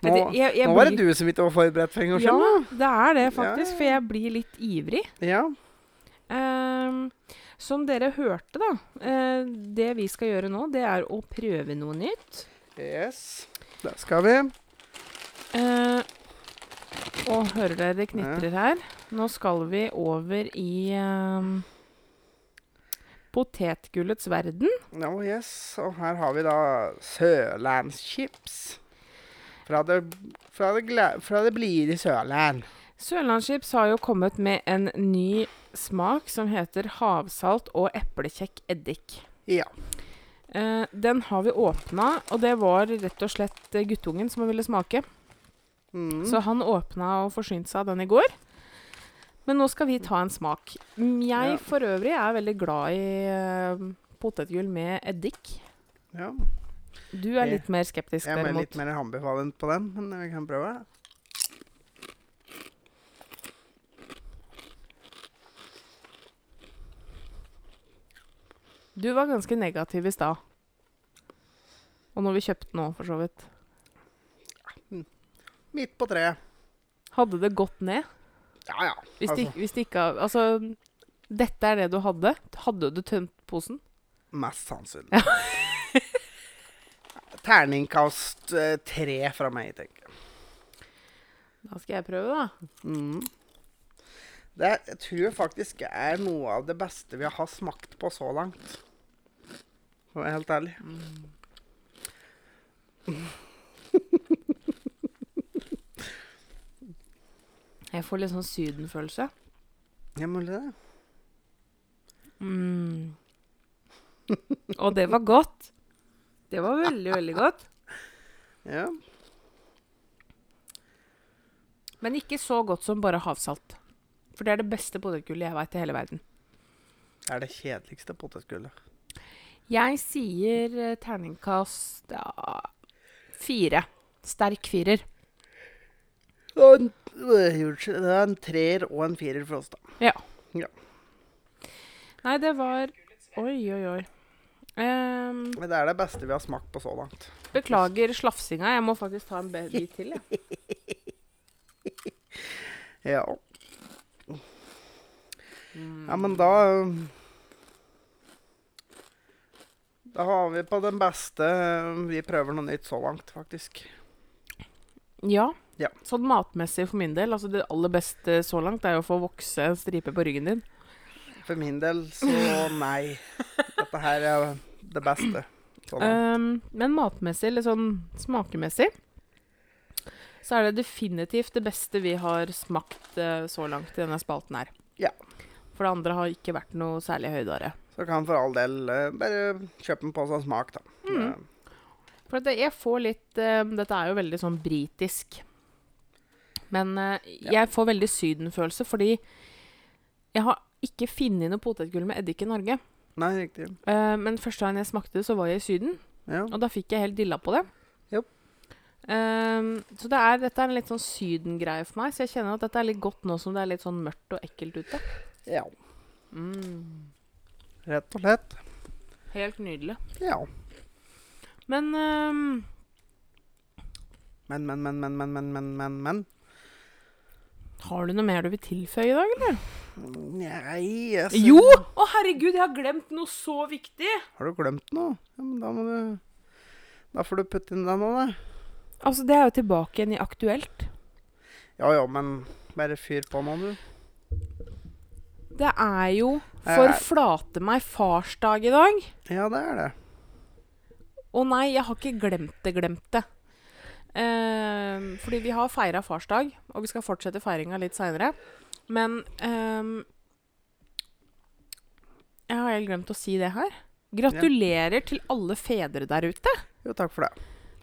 A: Nå, nå var det du som ikke var forberedt for en gangs
B: Ja,
A: skyld.
B: det er det
A: Ja.
B: faktisk, for jeg blir litt ivrig.
A: Ja.
B: Ehm, som dere hørte, da. eh, det vi skal gjøre nå, det er å prøve noe nytt.
A: Yes. Der skal vi.
B: Eh, og hører dere det knitrer her? Nå skal vi over i ehm, potetgullets verden.
A: Ja, yes. Og her har vi da sørlandschips. Fra det, fra det, gla- fra det blide Sørland.
B: Sørlandschips har jo kommet med en ny smak som heter havsalt og eplekjekk eddik.
A: Ja.
B: Eh, den har vi åpna, og det var rett og slett eh, guttungen som ville smake.
A: Mm.
B: Så han åpna og forsynte seg av den i går. Men nå skal vi ta en smak. Mm, Jeg
A: Ja.
B: for øvrig er veldig glad i eh, potetgull med eddik.
A: ja.
B: Du er
A: Jeg-
B: litt mer skeptisk
A: Jeg er
B: derimot.
A: litt mer anbefalent på den, men vi kan prøve.
B: Du var ganske negativ i stad. Og når vi kjøpte den òg, for så vidt.
A: Midt på treet.
B: Hadde det gått ned?
A: Ja, ja.
B: Hvis, det,
A: Altså.
B: hvis det ikke Altså, dette er det du hadde? Hadde du tømt posen?
A: Mest sannsynlig. Terningkast eh, tre fra meg, tenker jeg.
B: Da skal jeg prøve, da.
A: Mm. Det er- jeg tror faktisk er noe av det beste vi har smakt på så langt. For å være helt ærlig.
B: Jeg får litt sånn Syden-følelse.
A: Ja, mulig det.
B: Mm. Og det var godt. Det var veldig, veldig godt.
A: Ja.
B: Men ikke så godt som bare havsalt. For det er det beste potetgullet jeg veit i hele verden.
A: Det er det kjedeligste potetgullet.
B: Jeg sier eh, terningkast ja, fire. Sterk firer.
A: Og en- øh, Unnskyld. Det er en treer og en firer for oss, da.
B: Nei, det var Oi, oi, oi. Ehm,
A: Men det er det beste vi har smakt på så langt.
B: beklager slafsinga. Jeg må faktisk ta en be- bit til. Jeg.
A: Ja. Ja, men da um, Da har vi på den beste um, Vi prøver noe nytt så langt, faktisk.
B: Ja.
A: Ja.
B: Sånn matmessig for min del. Altså det aller beste så langt er jo å få vokse en stripe på ryggen din.
A: For min del så nei. Dette her er det beste. Så langt.
B: Ehm, men matmessig, eller sånn smakemessig, så er det definitivt det beste vi har smakt eh, så langt i denne spalten her.
A: Ja.
B: For det andre har ikke vært noe særlig høydere.
A: Så kan for all del eh, bare kjøpe en pose av smak, da.
B: Mm. For at jeg får litt eh, Dette er jo veldig sånn britisk. Men eh,
A: Ja.
B: jeg får veldig sydenfølelse, fordi jeg har ikke funnet noe potetgull med eddik i Norge.
A: Eh, Nei, riktig.
B: Eh, men første gang jeg smakte det, så var jeg i Syden.
A: Ja.
B: Og da fikk jeg helt dilla på det.
A: Jopp.
B: Ehm, så det er, dette er en litt sånn sydengreie for meg, så jeg kjenner at dette er litt godt nå som det er litt sånn mørkt og ekkelt ute.
A: ja. Rett og slett.
B: Mm. Helt nydelig.
A: Ja.
B: Men ehm,
A: Men, men, men, men, men, men, men, men. men.
B: har du noe mer du vil tilføye i dag, eller?
A: Nei, jeg ser-
B: Jo! Å, herregud, jeg har glemt noe så viktig!
A: Har du glemt noe? Ja, men da må du Da får du putte inn den òg, da.
B: Altså, det er jo tilbake igjen i aktuelt.
A: Ja ja, men bare fyr på nå, du.
B: Det er jo
A: Eh.
B: forflate meg farsdag i dag.
A: Ja, det er det.
B: Å nei, jeg har ikke glemt det, glemt det. Ehm, fordi vi har feira farsdag, og vi skal fortsette feiringa litt seinere. Men ehm, Jeg har helt glemt å si det her. Gratulerer til alle fedre der ute.
A: Jo, takk for det.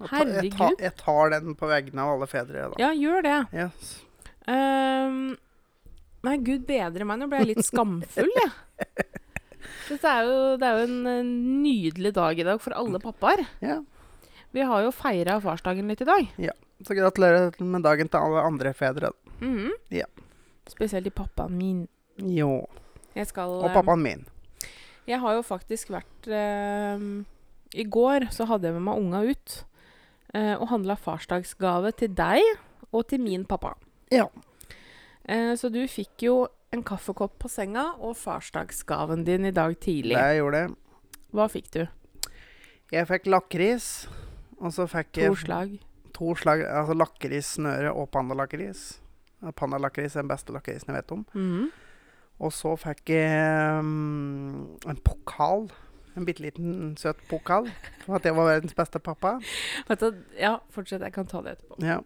A: Jeg ta- Jeg, ta,
B: Herregud.
A: jeg tar den på vegne av alle fedre, da.
B: Ja, gjør det.
A: Yes.
B: Ehm, nei, gud bedre meg, nå ble jeg litt skamfull, jeg. Dette er jo, det er jo en eh, nydelig dag i dag for alle pappaer.
A: Ja.
B: Vi har jo feira farsdagen litt i dag.
A: Så gratulerer med dagen til alle andre fedre.
B: Mhm.
A: Ja.
B: Spesielt til pappaen min.
A: Jo.
B: Jeg skal
A: Og
B: eh,
A: pappaen min.
B: Jeg har jo faktisk vært eh, I går så hadde jeg med meg unga ut eh, og handla farsdagsgave til deg og til min pappa.
A: Ja.
B: Eh, så du fikk jo en kaffekopp på senga og farsdagsgaven din i dag tidlig.
A: Det jeg gjorde det.
B: Hva fikk du?
A: Jeg fikk lakris. Og så fikk
B: To
A: jeg
B: slag.
A: to slag altså lakrissnøre og pandalakris. Ja, Pandalakris er den beste lakrisen jeg vet om.
B: Mhm.
A: Og så fikk jeg mm, en pokal. En bitte liten søt pokal. For at jeg var verdens beste pappa.
B: Vet du, ja, fortsett. Jeg kan ta det etterpå.
A: Ja.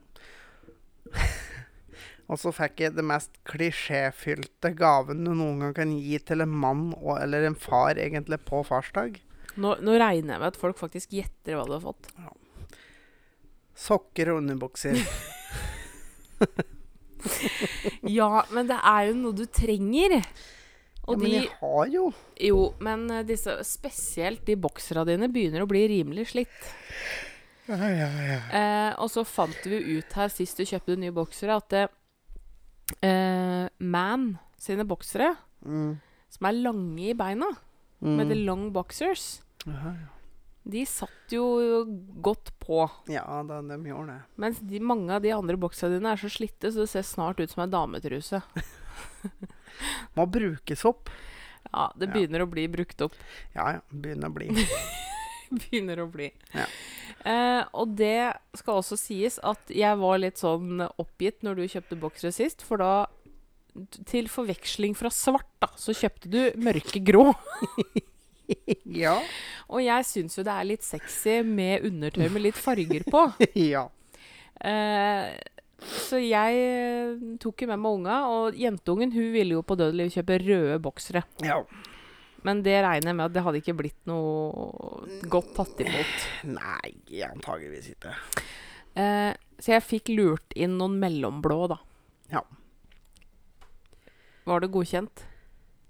A: og så fikk jeg det mest klisjéfylte gaven du noen gang kan gi til en mann og, eller en far, egentlig, på farsdag.
B: Nå, nå regner jeg med at folk faktisk gjetter hva du har fått.
A: Sokker og underbukser.
B: Ja, men det er jo noe du trenger.
A: Ja,
B: Og
A: men
B: de
A: jeg har jo
B: Jo, men eh, disse, spesielt de boksera dine begynner å bli rimelig slitt.
A: ja, ja, ja.
B: Eh, og så fant vi ut her sist du kjøpte nye boksere, at det, eh, Man sine boksere,
A: Mm.
B: som er lange i beina,
A: Mm.
B: med the long boxers,
A: Jaha,
B: de satt jo godt på.
A: Ja, Ja, da, de gjorde det.
B: Mens de, mange av de andre bokserne dine er så slitte, så det ser snart ut som en dametruse.
A: Må brukes opp.
B: Ja, det
A: Ja.
B: begynner å bli brukt opp.
A: Ja, ja. Begynner å bli.
B: begynner å bli.
A: Ja.
B: Eh, og det skal også sies at jeg var litt sånn oppgitt når du kjøpte boksere sist, for da til forveksling fra svart, da, så kjøpte du mørkegrå.
A: ja.
B: Og jeg syns jo det er litt sexy med undertøy med litt farger på.
A: ja.
B: Eh, så jeg eh, tok jo med meg unga, og jentungen hun ville jo på Dødeliv kjøpe røde boksere.
A: Ja.
B: Men det regner jeg med at det hadde ikke blitt noe godt tatt imot.
A: Nei, antageligvis ikke.
B: Eh, så jeg fikk lurt inn noen mellomblå, da.
A: Ja.
B: Var det godkjent?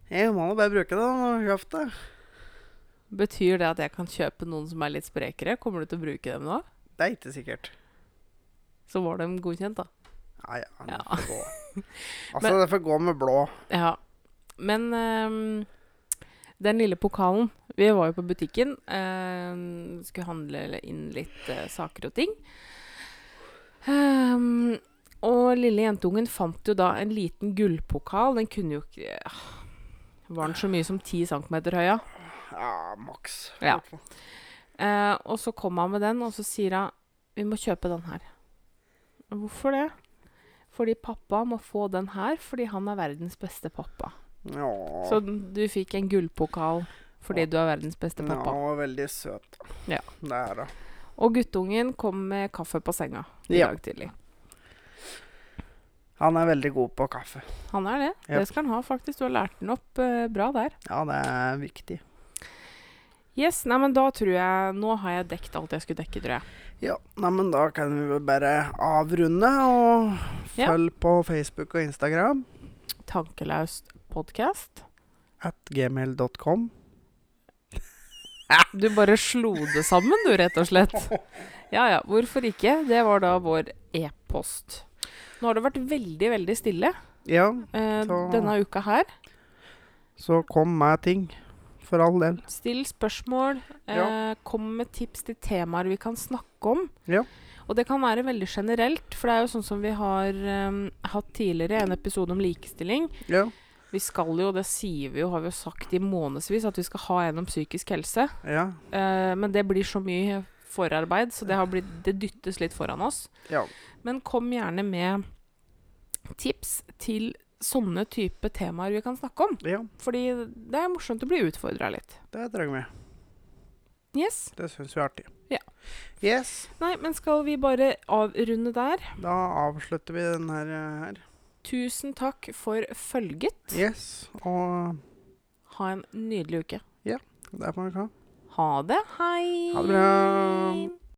A: Jeg må nå bare bruke det når jeg har kjøpt det.
B: Betyr det at jeg kan kjøpe noen som er litt sprekere? Kommer du til å bruke dem da?
A: Det er ikke sikkert.
B: Så var de godkjent, da.
A: Ja, ja. Det
B: Ja.
A: får gå. Altså, det får gå med blå.
B: Ja. Men ehm, den lille pokalen Vi var jo på butikken. ehm, skulle handle inn litt eh, saker og ting. Ehm, og lille jentungen fant jo da en liten gullpokal. Den kunne jo ikke ah, Var den så mye som 10 cm høy, ja?
A: Ja, maks.
B: Ja. Eh, og så kom han med den, og så sier han Vi må kjøpe den her. Hvorfor det? Fordi pappa må få den her fordi han er verdens beste pappa.
A: Ja.
B: Så den- du fikk en gullpokal fordi du er verdens beste
A: Ja,
B: pappa.
A: han var veldig søt.
B: Ja.
A: Det er det.
B: Og guttungen kom med kaffe på senga i
A: Ja.
B: dag tidlig.
A: Han er veldig god på kaffe.
B: Han er det.
A: Jep.
B: Det skal han ha, faktisk. Du har lært den opp eh, bra der.
A: Ja, det er viktig.
B: Yes, nei, men da tror jeg Nå har jeg dekt alt jeg skulle dekke, tror jeg.
A: Ja, nei, men da kan vi vel bare avrunde, og
B: Ja.
A: følg på Facebook og Instagram.
B: Tankelaust podkast.
A: At gmail.com.
B: Du bare slo det sammen, du, rett og slett. Ja ja, hvorfor ikke? Det var da vår e-post. Nå har det vært veldig, veldig stille
A: Ja,
B: eh,
A: Så-
B: denne uka her.
A: så kom med ting. For all del.
B: Still spørsmål. Eh,
A: Ja.
B: Kom med tips til temaer vi kan snakke om.
A: Ja.
B: Og det kan være veldig generelt, for det er jo sånn som vi har eh, hatt tidligere, en episode om likestilling.
A: Ja.
B: Vi skal jo, det sier vi jo, har vi jo sagt i månedsvis, at vi skal ha en om psykisk helse.
A: ja.
B: Eh, men det blir så mye forarbeid, så det, har blitt, det dyttes litt foran oss.
A: Ja.
B: Men kom gjerne med tips til sånne type temaer vi kan snakke om.
A: ja,
B: Fordi det er morsomt å bli utfordra litt.
A: det trenger vi.
B: Yes.
A: Det syns vi er artig.
B: Ja.
A: Yes,
B: Nei, men skal vi bare avrunde der?
A: da avslutter vi den her. eh, her.
B: Tusen takk for følget.
A: Yes, og
B: Ha en nydelig uke.
A: det må vi ha.
B: Ha det. Hei.
A: Ha det bra.